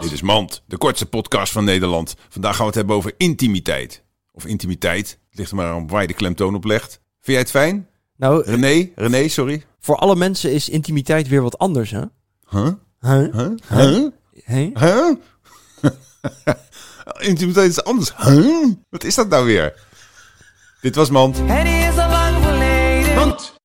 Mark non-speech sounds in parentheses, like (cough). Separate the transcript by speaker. Speaker 1: Dit is Mand, de kortste podcast van Nederland. Vandaag gaan we het hebben over intimiteit. Of intimiteit, het ligt er maar aan waar je de klemtoon op legt. Vind jij het fijn?
Speaker 2: Nou,
Speaker 1: René, René, sorry.
Speaker 2: voor alle mensen is intimiteit weer wat anders, hè?
Speaker 1: Huh?
Speaker 2: Huh?
Speaker 1: Huh? Huh?
Speaker 2: Hè?
Speaker 1: Huh? (laughs) intimiteit is anders. Huh? Wat is dat nou weer? Dit was Mand.
Speaker 3: Het is al lang geleden.